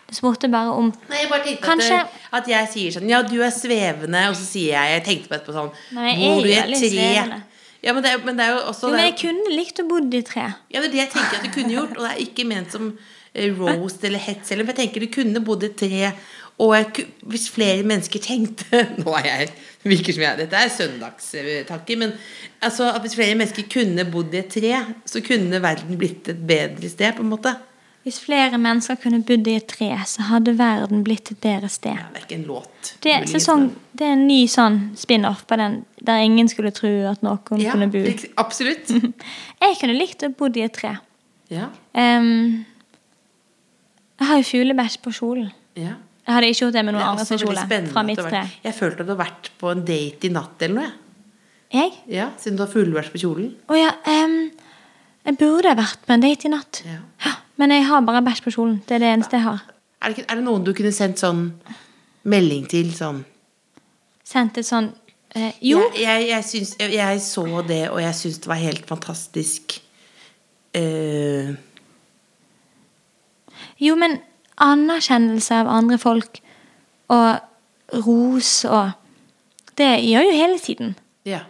S4: Du spurte bare om
S3: Nei, jeg bare tenkte
S4: Kanskje-
S3: at, at jeg sier sånn Ja, du er svevende, og så sier jeg Jeg tenkte på etterpå sånn
S4: Nei, jeg er
S3: Bor du i
S4: jo
S3: et
S4: veldig
S3: tre?
S4: svevende.
S3: Ja, men det, er jo- men det er jo også
S4: Jo,
S3: det
S4: men
S3: er
S4: jeg kunne likt å bo i tre.
S3: Ja, det er det jeg tenker at du kunne gjort, og det er ikke ment som eh, roast eller hets heller, for jeg tenker du kunne bodd i tre, og jeg, ku- hvis flere mennesker tenkte Nå er jeg det virker som jeg Dette er søndagstanker, men altså, at hvis flere mennesker kunne bodd i et tre, så kunne verden blitt et bedre sted, på en måte.
S4: Hvis flere mennesker kunne bodd i et tre, så hadde verden blitt et bedre sted.
S3: Ja, det er ikke en låt.
S4: Det er,
S3: muligens,
S4: sesong, det er en ny sånn spin-off på den der ingen skulle tro at noen
S3: men- ja,
S4: kunne bo.
S3: det- Absolutt.
S4: Jeg kunne likt å bo i et tre.
S3: Ja,
S4: Ehm, jeg har jo fuglebæsj på kjolen.
S3: ja.
S4: Jeg hadde ikke gjort det med
S3: Det
S4: noen
S3: er
S4: andre
S3: også
S4: sin
S3: veldig
S4: kjole.
S3: spennende
S4: Fra
S3: at
S4: mitt
S3: du har
S4: tre.
S3: vært- Jeg følte at du har vært på en date i natt eller noe, jeg.
S4: Jeg?
S3: ja, siden du har fuglebæsj på kjolen.
S4: Å ja, ehm, jeg burde ha vært på en date i natt.
S3: Ja.
S4: Men jeg har bare bæsj på kjolen. Det er det eneste jeg har.
S3: Er det, ikke- er det noen du kunne sendt sånn melding til? Sånn
S4: Sendt et sånn eh, Jo.
S3: Jeg, jeg, jeg, syns, jeg, jeg så det, og jeg syns det var helt fantastisk. Eh,
S4: Jo, men anerkjennelse av andre folk og ros og Det gjør jeg jo hele tiden.
S3: ja.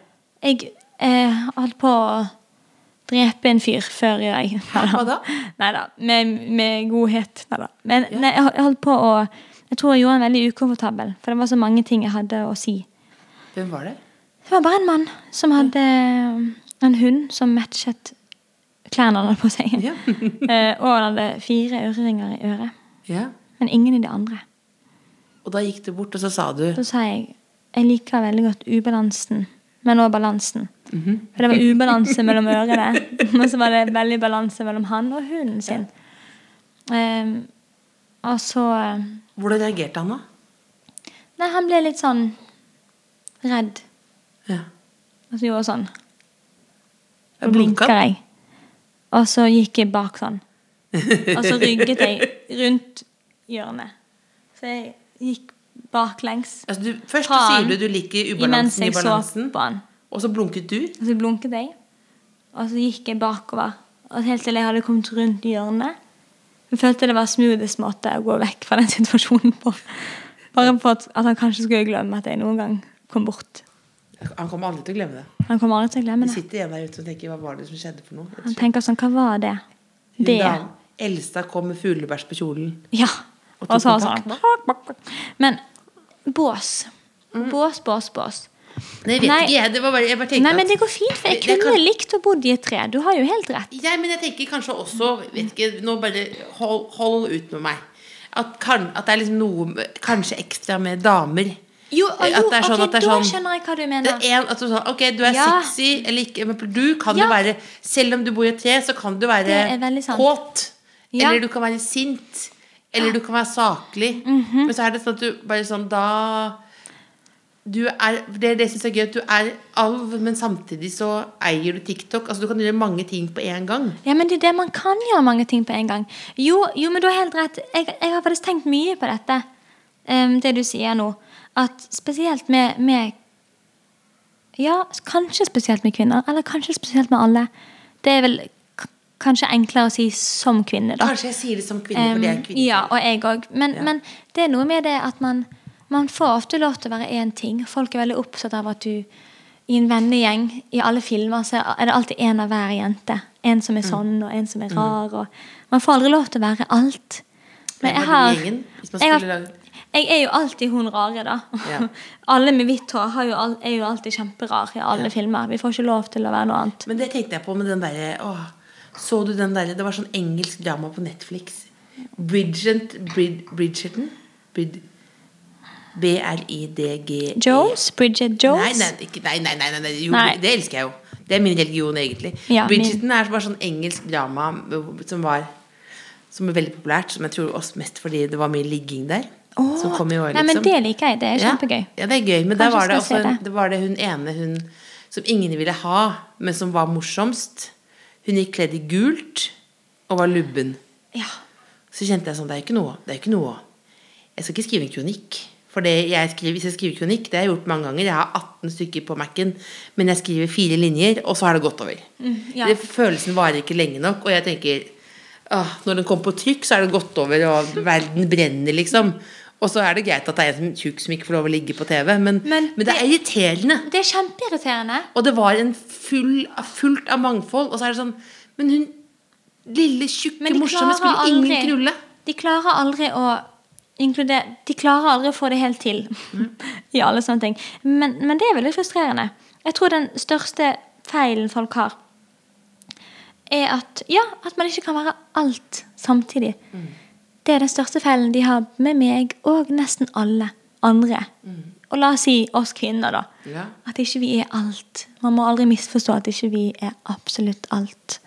S4: Jeg eh, holdt på å drepe en fyr før jeg
S3: Hva da?
S4: Nei da. Med, med godhet. Neida. Men nei, jeg hol- jeg holdt på å Jeg tror jeg gjorde han veldig ukomfortabel, for det var så mange ting jeg hadde å si.
S3: Hvem var det?
S4: Det var bare en mann som hadde eh, en hund som matchet klærne han hadde på seg.
S3: Ja.
S4: Eh, og han hadde fire øreringer i øret.
S3: Ja.
S4: Men ingen i det andre.
S3: Og da gikk du bort, og så sa du
S4: Så sa jeg jeg liker veldig godt ubalansen, men også balansen. For det var ubalanse mellom ørene, og så var det veldig balanse mellom han og hunden sin. Ehm, og så
S3: Hvordan reagerte han, da?
S4: Nei, han ble litt sånn redd.
S3: Ja.
S4: Og så gjorde jeg sånn.
S3: Jeg
S4: Så
S3: blunka.
S4: blinker jeg. Og så gikk jeg bak sånn. Og så rygget jeg rundt hjørnet. Så jeg gikk baklengs.
S3: Altså, du, først
S4: Fra
S3: så
S4: han,
S3: sier du du liker
S4: Imens
S3: ubalansen i
S4: jeg så
S3: balansen,
S4: på han.
S3: og så blunket du.
S4: Og så blunket jeg, og så gikk jeg bakover. Og helt til jeg hadde kommet rundt hjørnet. Jeg følte det var smoothest måte å gå vekk fra den situasjonen på. Bare på at, at han kanskje skulle glemme at jeg noen gang kom bort.
S3: Han kommer aldri til å glemme det.
S4: Han kommer aldri til å glemme
S3: Det
S4: det.
S3: sitter igjen der ute og tenker 'hva var det som skjedde for noe'?
S4: Han tenker sånn, hva var det? Det.
S3: Dam- Elsa kom med fuglebæsj på kjolen.
S4: Ja.
S3: Og
S4: Og
S3: tok
S4: så var
S3: kontakt
S4: han sånn. Men bås. Bås, bås, bås.
S3: Nei, vet
S4: Nei.
S3: ikke jeg. Det var bare, jeg bare tenkte
S4: Nei, men
S3: at-
S4: Mm. det går fint, for jeg
S3: Det- det
S4: kunne
S3: kan-
S4: likt å bo i et tre. Du har jo helt rett.
S3: Ja, men jeg tenker kanskje også vet ikke, Nå bare hold, hold ut med meg. At, kan, at det er liksom noe med- Kanskje ekstra med damer.
S4: Jo,
S3: At
S4: jo
S3: det er sånn
S4: ok,
S3: at det er
S4: da
S3: sånn-
S4: skjønner jeg hva du
S3: Det
S4: mener.
S3: er en, at du, sa, ok, du er
S4: eh, Ja.
S3: sexy eller ikke, men du kan
S4: Ja.
S3: jo være Selv om du bor i et tre, så kan du være
S4: Det er veldig sant.
S3: kåt.
S4: Ja.
S3: Eller du kan være sint. Eller du kan være saklig.
S4: Mhm.
S3: Men så er det sånn at du bare sånn Da du er, Det er det jeg syns er gøy, at du er alv, men samtidig så eier du TikTok. Altså Du kan gjøre mange ting på én gang.
S4: Ja, men det er det man kan gjøre mange ting på en gang. Jo, jo men du har helt rett. Jeg, jeg har faktisk tenkt mye på dette, em, det du sier nå. At spesielt med, med Ja, kanskje spesielt med kvinner. Eller kanskje spesielt med alle. Det er vel k kanskje enklere å si som kvinne, da.
S3: Kanskje jeg sier det som kvinne, for det er
S4: Em,
S3: kvinne.
S4: Ja, og jeg òg. Men, men det er noe med det at man, man får ofte lov til å være én ting. Folk er veldig opptatt av at du i en vennegjeng, i alle filmer, så er det alltid én av hver jente. En som
S3: Mm.
S4: er sånn, og en som er rar. Og man får aldri lov til å være alt. Men
S3: Hvem er du
S4: jeg
S3: i
S4: har
S3: gjengen, hvis man
S4: jeg,
S3: skulle
S4: har,
S3: lage-
S4: jeg er jo alltid hun rare, da.
S3: Ja.
S4: alle med hvitt hår har jo al- er jo alltid kjemperar i alle filmer. Vi får ikke lov til å være noe annet.
S3: Men det tenkte jeg på med den derre åh, Så du den derre Det var sånn engelsk drama på Netflix. Bridgerton Brid, Bridgerton? Brid, B-r-i-d-g
S4: Jones? Bridget
S3: E. Nei,
S4: Jones?
S3: nei, ikke, nei, nei, nei, nei, nei, jo,
S4: Nei.
S3: det elsker jeg jo. Det er min religion, egentlig.
S4: Ja,
S3: Bridgerton er bare sånn engelsk drama eh, som var Som er veldig populært. Som jeg tror også mest fordi det var mye ligging der.
S4: Åh,
S3: som kom i år,
S4: Nei, men
S3: liksom.
S4: det liker jeg. Det er kjempegøy.
S3: Ja, ja det er gøy, men der
S4: Kanskje
S3: var det,
S4: skal
S3: også,
S4: jeg se
S3: en-
S4: det.
S3: det var det hun ene hun, som ingen ville ha, men som var morsomst. Hun gikk kledd i gult og var lubben.
S4: Ja.
S3: Så kjente jeg sånn, det er jo ikke noe, det er jo ikke noe. Jeg skal ikke skrive en kronikk. For det jeg skriver, hvis jeg skriver kronikk, det har jeg gjort mange ganger, jeg har 18 stykker på Mac-en, men jeg skriver fire linjer, og så har det gått over.
S4: Mm, ja.
S3: det, følelsen varer ikke lenge nok, og jeg tenker, ah, når den kommer på trykk, så er det gått over, og verden brenner, liksom. Og så er det greit at det er en som- tjukk som ikke får lov å ligge på TV, men, men,
S4: Men
S3: det er irriterende.
S4: Det er kjempeirriterende.
S3: Og det var en full, fullt av mangfold, og så er det sånn, men hun, lille, tjukke,
S4: Men de
S3: morsomme,
S4: klarer
S3: skulle
S4: aldri
S3: ingen knulle.
S4: De klarer aldri å inkludere De klarer aldri å få det helt til i alle sånne ting. Men, men det er veldig frustrerende. Jeg tror den største feilen folk har, er at Ja, at man ikke kan være alt samtidig.
S3: Mm.
S4: Det er den største feilen de har med meg og nesten alle andre. Og la oss si oss kvinner, da.
S3: Mm. Ja.
S4: At ikke vi er alt. Man må aldri misforstå at ikke vi er absolutt alt.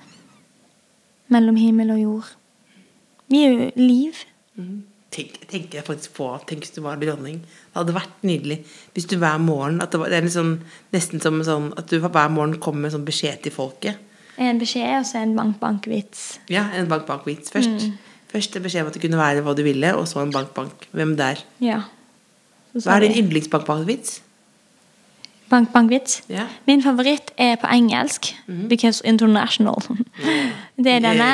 S4: Mellom himmel og jord. Vi er jo liv.
S3: Tenk, tenker jeg faktisk på Tenk hvis du var dronning. Det hadde vært nydelig hvis du hver morgen at det, var, det er litt sånn, Nesten som en sånn at du hver morgen kom med en sånn beskjed til folket.
S4: En beskjed og så en bank-bank-vits.
S3: Ja, En bank-bank-vits først.
S4: Mm.
S3: Først en beskjed om at det kunne være hva du ville, og så en bank-bank. Hvem der?
S4: Ja. Så sa
S3: Hva er
S4: vi-
S3: din yndlingsbank-bank-vits?
S4: Bank, bank, vits.
S3: Ja.
S4: Min favoritt er på engelsk. Because international. Det er denne.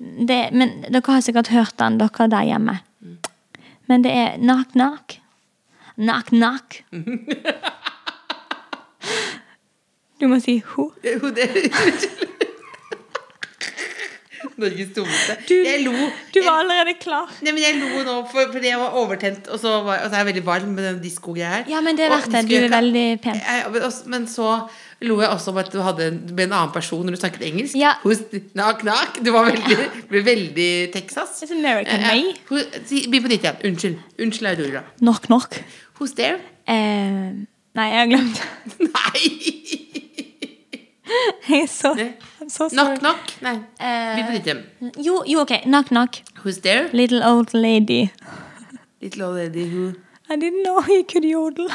S4: Det, men dere har sikkert hørt den, dere der hjemme. Men det er knock, knock. Knock, knock. Du må si ho.
S3: Norges dummeste.
S4: Du,
S3: jeg lo.
S4: du
S3: jeg-
S4: var allerede klar.
S3: Nei, men Jeg lo nå for- fordi jeg var overtent, og så, var, og så er jeg veldig varm med den diskogreia her.
S4: Ja, men det er
S3: Og
S4: verdt det. Du
S3: skulle
S4: er
S3: ikke-
S4: veldig pen.
S3: Jeg- men også- Men så lo jeg også om at du hadde en- med en annen person når du snakket engelsk.
S4: Ja.
S3: Who's- knock, knock. Du var veldig, ble veldig Texas.
S4: It's American
S3: Eh,
S4: way.
S3: who- si- Begynn på nytt igjen. Unnskyld. Unnskyld, Aurora.
S4: Knock, knock.
S3: Who's there?
S4: Eh, nei, jeg har glemt det.
S3: Nei!
S4: Jeg er så,
S3: Nei.
S4: I'm so sorry. Eh.
S3: Knock, knock. Nei. Begynn på nytt igjen.
S4: Jo, jo, ok. Knock, knock.
S3: Who's there?
S4: Little old lady.
S3: Little old lady who
S4: I didn't know you could yodel.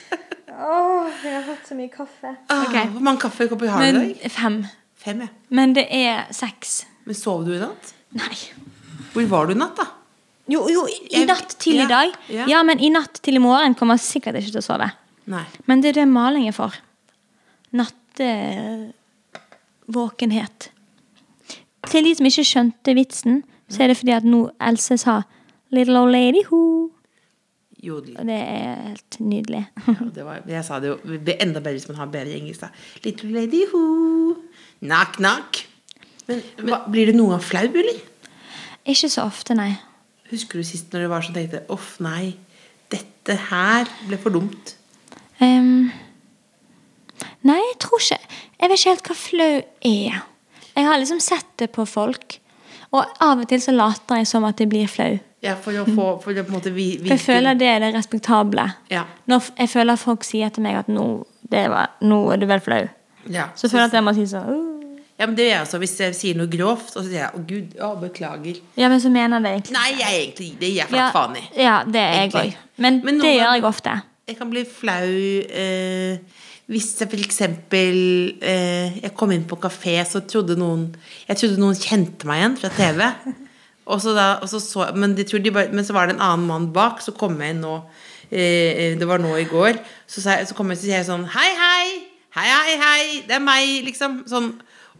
S4: jeg har fått så mye kaffe.
S3: ah, Hvor mange kaffekopper har du i
S4: Men
S3: dag?
S4: fem.
S3: Fem, ja.
S4: Men det er seks.
S3: Men sov du i natt?
S4: Nei.
S3: Hvor var du i natt, da?
S4: Jo, jo, i- i
S3: Jeg-
S4: natt til
S3: ja,
S4: i dag.
S3: ja.
S4: Ja, men i natt til i morgen kommer jeg sikkert ikke til å sove.
S3: Nei.
S4: Men det er det maling er for. Nattevåkenhet. Til de som ikke skjønte vitsen, så er det fordi at nå Else sa 'Little old lady who'.
S3: Jodel.
S4: Og det er helt nydelig.
S3: Ja, det var, jeg sa det jo det blir enda bedre hvis man har bedre engelsk. Da. Little lady who Knock, knock. Men, hva, blir du noen gang flau, eller?
S4: Ikke så ofte, nei.
S3: Husker du sist når det var sånn tenkte Uff, nei. Dette her ble for dumt.
S4: Ehm, nei, jeg tror ikke Jeg vet ikke helt hva flau er. Jeg har liksom sett det på folk. Og av og til så later jeg som at jeg blir flau.
S3: Ja, for å få for å på en måte vi,
S4: For jeg føler det er det respektable.
S3: Ja.
S4: Når f- jeg føler folk sier til meg at nå, det var, 'nå er du vel flau',
S3: ja.
S4: så føler jeg at jeg må si sånn «Åh».
S3: ja, men det gjør jeg også. Hvis jeg sier noe grovt, og så sier jeg å gud, å, beklager.
S4: Ja, men så mener jeg det egentlig.
S3: Nei, jeg er egentlig det gir jeg flatt
S4: Ja,
S3: faen i.
S4: ja, det er jeg
S3: Egentlig.
S4: òg. Men,
S3: Men
S4: det
S3: noen-
S4: gjør jeg ofte.
S3: Jeg kan bli flau eh, hvis jeg for eksempel eh, Jeg kom inn på kafé, så trodde noen Jeg trodde noen kjente meg igjen fra TV. Og så da, og så så, men, de trodde de bare, men så var det en annen mann bak, så kom jeg inn nå eh, Det var nå i går. Så, sa jeg, så kom jeg og sier jeg sånn Hei, hei! Hei, hei, hei! Det er meg! Liksom. Sånn.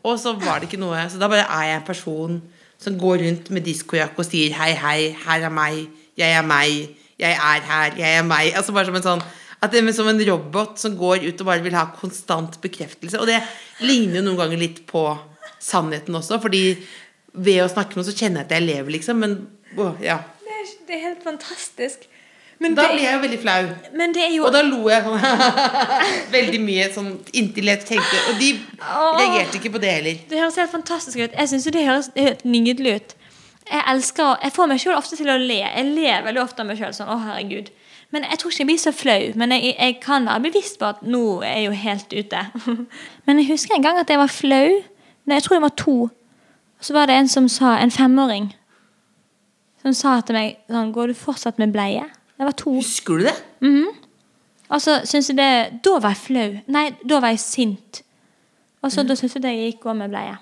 S3: Og så var det ikke noe. Så da bare er jeg en person som går rundt med diskojakke og sier hei, hei, her er meg, jeg er meg, jeg er her, jeg er meg. Altså bare som en sånn at det er som en robot som går ut og bare vil ha konstant bekreftelse. Og det ligner jo noen ganger litt på sannheten også, fordi ved å snakke nå så kjenner jeg at jeg lever, liksom, men åh, ja.
S4: Det er, helt fantastisk. Men
S3: Da blir jeg jo veldig flau.
S4: Men det er jo
S3: Og da lo jeg sånn veldig mye sånn inntil jeg tenkte Og de reagerte ikke på det heller.
S4: Det høres helt fantastisk ut. Jeg synes jo det høres helt nydelig ut. Jeg elsker å- Jeg får meg selv ofte til å le. Jeg ler veldig ofte av meg selv sånn. Å, herregud. Men jeg tror ikke jeg blir så flau. Men jeg, jeg kan være bevisst på at nå er jeg jo helt ute. Men jeg husker en gang at jeg var flau. Nei, jeg tror det var to. Så var det en som sa En femåring som sa til meg sånn, Går du fortsatt med bleie? Jeg var to.
S3: Husker du det?
S4: Og så syntes jeg det Da var jeg flau. Nei, da var jeg sint. Og så da syntes jeg det gikk gå med bleie.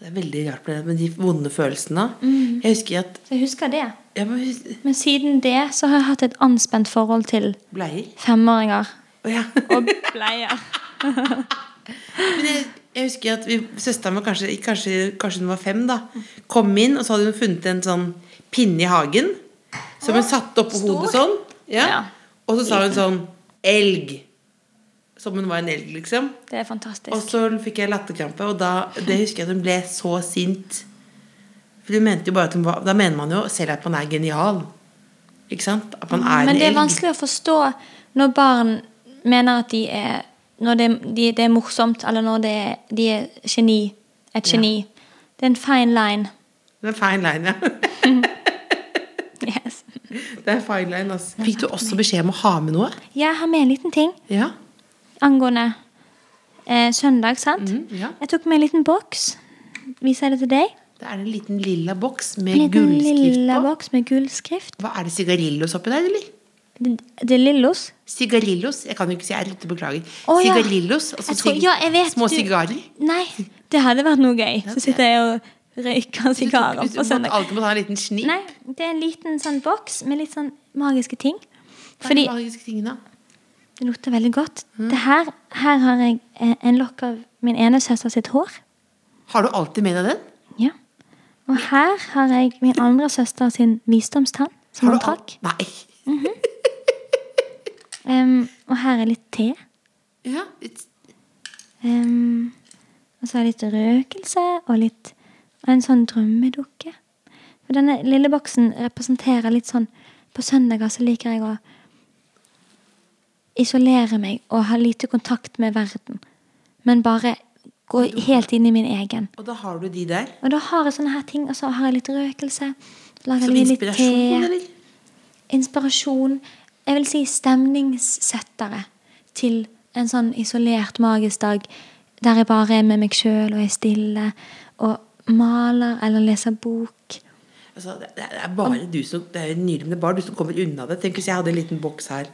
S3: Det er veldig rart med det, med de vonde følelsene.
S4: Mm.
S3: Jeg husker at
S4: Så jeg husker det.
S3: jeg må hus-
S4: Men siden det så har jeg hatt et anspent forhold til
S3: Bleier.
S4: femåringer
S3: Å ja.
S4: og bleier.
S3: Men jeg, jeg husker at vi- søsteren min, kanskje, kanskje, kanskje hun var fem, da, kom inn, og så hadde hun funnet en sånn pinne i hagen. Som hun satte oppå hodet sånn. Ja.
S4: Ja.
S3: Og så sa hun sånn Elg. Som hun var en elg, liksom.
S4: Det er
S3: Og
S4: fantastisk.
S3: så fikk jeg latterkrampe, og da det husker jeg at hun ble så sint. For hun mente jo bare at hun var Da mener man jo selv at man er genial. Ikke sant? At man er
S4: Mm, Men
S3: en
S4: det er
S3: elg.
S4: vanskelig å forstå når barn mener at de er Når det, de, det er morsomt, eller når det er, de er geni. Et geni. Det er en fine line.
S3: Det er fine line, ja.
S4: Yes.
S3: Det er fine line, altså. Fikk du også beskjed om å ha med noe?
S4: Jeg har med en liten ting
S3: Ja.
S4: angående eh, søndag, sant?
S3: Mhm, ja.
S4: Jeg tok med en liten boks. Viser jeg det til deg?
S3: Det er en liten lilla boks med
S4: En liten
S3: gullskrift
S4: lilla
S3: på.
S4: boks med gullskrift.
S3: Hva Er det sigarillos oppi der, eller?
S4: Det, det er Lillos.
S3: Sigarillos. Jeg kan jo ikke si R, beklager.
S4: Å, ja.
S3: sigarillos. Altså
S4: Jeg tror-
S3: sig-
S4: ja, jeg vet,
S3: små
S4: du-
S3: sigarer.
S4: Nei, det hadde vært noe gøy.
S3: det-
S4: Så sitter jeg og røyker
S3: Du tok-
S4: sigarer
S3: du
S4: på
S3: måtte
S4: søndag.
S3: alltid måtte ha en liten snipp.
S4: Nei, det er en liten sånn boks med litt sånn magiske ting.
S3: Hva er
S4: Fordi
S3: de magiske tingene?
S4: det lukter veldig godt.
S3: Mm.
S4: Det her, her har jeg eh, en lokk av min ene søster sitt hår.
S3: Har du alltid med deg den?
S4: Ja. Og her har jeg min andre søster sin visdomstann, som
S3: Har
S4: hun
S3: du al-
S4: trakk.
S3: Nei.
S4: Em, og her er litt te.
S3: Ja, it's-
S4: Em, og så er det litt røkelse og litt og en sånn drømmedukke. For denne lille boksen representerer litt sånn På søndager så liker jeg å isolere meg og ha lite kontakt med verden. Men bare gå helt inn i min egen.
S3: og da har du de der.
S4: Og da har jeg sånne her ting, og så har jeg litt røkelse. Så lager
S3: Som
S4: jeg litt
S3: inspirasjon,
S4: te.
S3: eller?
S4: inspirasjon Jeg vil si stemningssettere til en sånn isolert magisk dag der jeg bare er med meg sjøl og er stille og maler eller leser bok.
S3: Altså, det, det er bare du som Det er jo nydelig, men det er bare du som kommer unna det. Tenk hvis jeg hadde en liten boks her,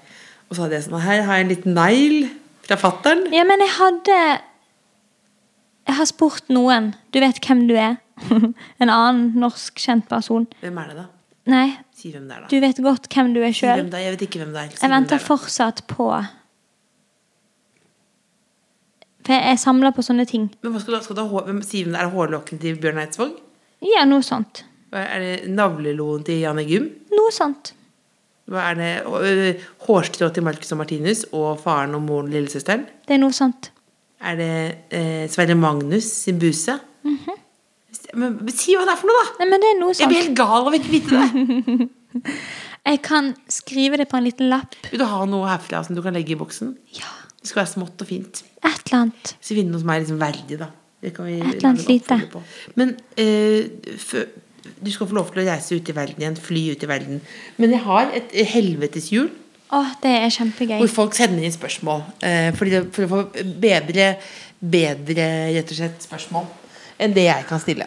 S3: og så hadde jeg sånn Her har jeg en liten negl fra fattern.
S4: Ja, men jeg hadde Jeg har spurt noen. Du vet hvem du er. en annen norsk kjent person.
S3: Hvem er det, da?
S4: Nei,
S3: Si hvem det er, da.
S4: du vet godt hvem du er
S3: Si hvem
S4: sjøl.
S3: det er. Jeg vet ikke hvem det er. Si
S4: Jeg
S3: hvem det
S4: venter
S3: er, da.
S4: fortsatt på For jeg samler på sånne ting.
S3: Men hva skal du, ha- skal du ha hår- hvem, si hvem det er hårlokken til Bjørn Eidsvåg?
S4: Ja, noe sånt.
S3: Hva er det navleloen til Janne Gym?
S4: Noe sånt.
S3: Hva er det å, ø, hårstrå til Marcus og Martinus og faren og moren og lillesøsteren?
S4: Det er noe sånt.
S3: Er det eh, Sverre Magnus sin buse?
S4: Mhm.
S3: Men si hva det er for noe, da!
S4: Nei, men det er noe
S3: Jeg blir
S4: sånt.
S3: helt gal av ikke å vite det.
S4: Jeg kan skrive det på en liten lapp.
S3: Vil du ha noe herfra som du kan legge i boksen?
S4: Ja,
S3: Det skal være smått og fint.
S4: et eller annet.
S3: Så finne noe som er liksom verdig, da. Det kan vi
S4: Et eller annet
S3: lage en oppfølger
S4: lite.
S3: på. Men eh, fø- du skal få lov til å reise ut i verden igjen, fly ut i verden. Men jeg har et helvetes hjul
S4: Å, det er kjempegøy.
S3: hvor folk sender inn spørsmål. eh, fordi det, for å få bedre, bedre rett og slett spørsmål enn det jeg kan stille.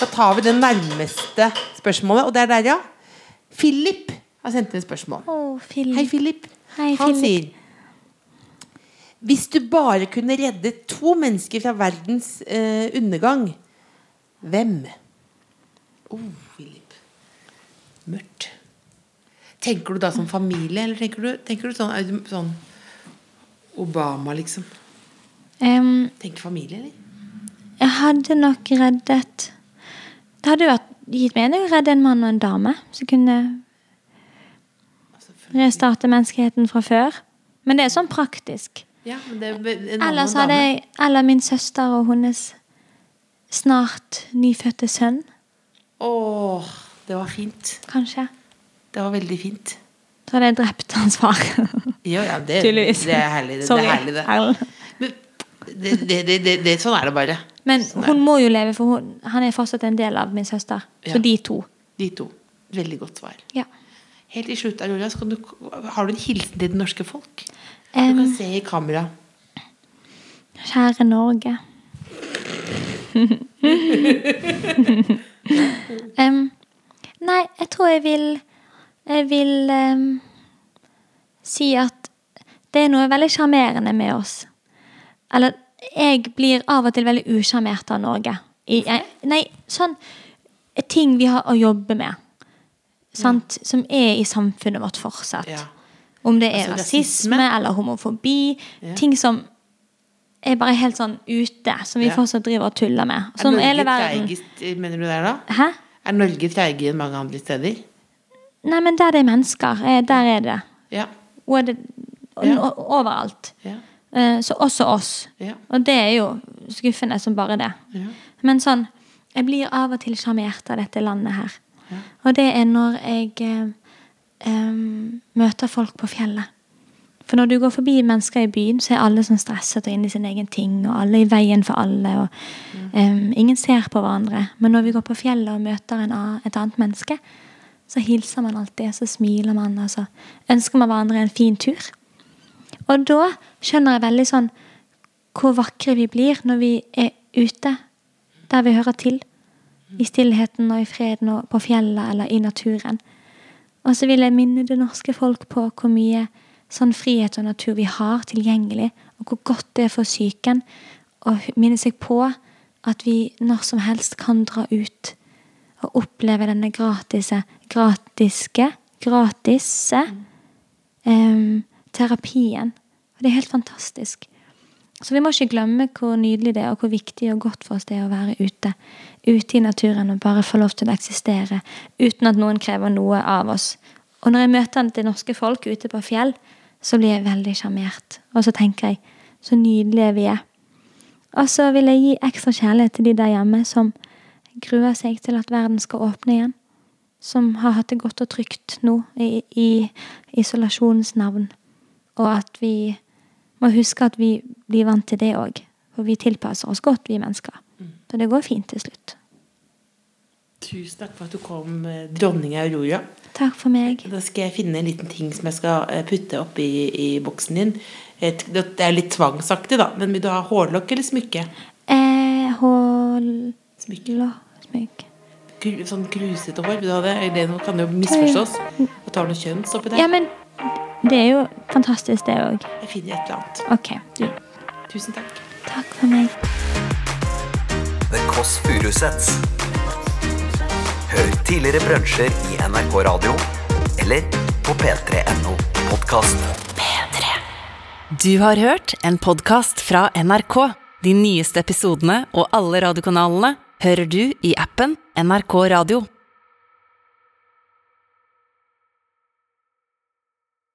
S3: Da tar vi det nærmeste spørsmålet, og det er der, ja. Philip har sendt inn et spørsmål.
S4: Å, Philip.
S3: Hei, Philip.
S4: Hei,
S3: Han
S4: Philip.
S3: sier Hvis du bare kunne redde to mennesker fra verdens eh, undergang, hvem? Oh, Philip. Mørkt. Tenker du da som familie, eller tenker du, tenker du sånn, er du sånn Obama, liksom?
S4: Em,
S3: Tenker familie, eller?
S4: jeg hadde nok reddet Det hadde jo vært gitt mening å redde en mann og en dame som kunne
S3: Altså, for-
S4: restarte menneskeheten fra før. Men det er sånn praktisk.
S3: ja, men det er be- en mann
S4: Ellers
S3: og en
S4: hadde
S3: dame.
S4: jeg Eller min søster og hennes snart nyfødte sønn,
S3: Åh, det var fint.
S4: kanskje.
S3: Det var veldig fint.
S4: Så hadde jeg drept hans far.
S3: Ja, ja, det, Eh,
S4: Tydeligvis.
S3: det er herlig, det.
S4: Sorry,
S3: det, er herlig, det.
S4: Erlend.
S3: Men det, det, det, det, det, sånn er det bare.
S4: Men
S3: Sånn er
S4: hun må jo leve, for hun, han er fortsatt en del av min søster.
S3: Ja.
S4: Så de to.
S3: det. De to. Veldig godt svar.
S4: Ja.
S3: Helt til slutt, Aurora, så kan du, har du en hilsen til det norske folk? Du
S4: Em,
S3: kan se i kamera.
S4: kjære Norge. Em, nei, jeg tror jeg vil Jeg vil em, si at det er noe veldig sjarmerende med oss. Eller jeg blir av og til veldig usjarmert av Norge. I, jeg, nei, sånn ting vi har å jobbe med. Sant? Som er i samfunnet vårt fortsatt.
S3: Ja.
S4: Om det er
S3: Altså, rasisme.
S4: rasisme eller homofobi. Ting som er bare helt sånn ute, som vi
S3: Ja.
S4: fortsatt driver og tuller med. Som Sånn hele verden.
S3: Treigest, mener du det, er da?
S4: Hæ?
S3: Er Norge treigere enn mange andre steder?
S4: Nei, men der det er mennesker, eh, der er det.
S3: Ja.
S4: Og det og,
S3: Ja.
S4: og- overalt.
S3: Ja.
S4: Eh, Så også oss.
S3: Ja.
S4: Og det er jo skuffende som bare det.
S3: Ja.
S4: Men sånn Jeg blir av og til sjarmert av dette landet her. Og det er når jeg eh, em, møter folk på fjellet. For når du går forbi mennesker i byen, så er alle sånn stresset og inne i sin egen ting. Og alle i veien for alle. Og em, ingen ser på hverandre. Men når vi går på fjellet og møter en, annen- et annet menneske, så hilser man alltid, og så smiler man, og så ønsker man hverandre en fin tur. Og da skjønner jeg veldig sånn hvor vakre vi blir når vi er ute, der vi hører til. I stillheten og i freden og på fjellet eller i naturen. Og så vil jeg minne det norske folk på hvor mye sånn frihet og natur vi har tilgjengelig, og hvor godt det er for psyken å hu- minne seg på at vi når som helst kan dra ut og oppleve denne gratise, gratiske, gratisse em, terapien. Og det er helt fantastisk. Så vi må ikke glemme hvor nydelig det er, og hvor viktig og godt for oss det er å være ute. Ute i naturen og bare få lov til å eksistere uten at noen krever noe av oss. Og når jeg møter det norske folk ute på fjell, så blir jeg veldig sjarmert. Og så tenker jeg så nydelige vi er. Og så vil jeg gi ekstra kjærlighet til de der hjemme som gruer seg til at verden skal åpne igjen. Som har hatt det godt og trygt nå i, i isolasjonens navn. Og at vi må huske at vi blir vant til det òg. For vi tilpasser oss godt, vi mennesker. Så det går fint til slutt.
S3: Tusen takk for at du kom, eh, dronning Aurora.
S4: Takk for meg.
S3: Da skal jeg finne en liten ting som jeg skal eh, putte oppi i boksen din. Et- Det er litt tvangsaktig, da, men vil du ha hårlokk eller smykke?
S4: Eh, hold
S3: Smykke.
S4: Lå, smyk.
S3: Kru- Sånn krusete hår, vil du ha det? Det nå kan jo misforstås. Og tar noe kjønns oppi der.
S4: Ja, men det er jo fantastisk, det òg.
S3: Jeg finner et eller annet.
S4: OK.
S3: Tusen takk.
S4: Takk for meg.
S2: The Kåss Furuseths. Hør tidligere brunsjer i NRK Radio eller på p3.no podkast.
S1: Du har hørt en podkast fra NRK. De nyeste episodene og alle radiokanalene hører du i appen NRK Radio.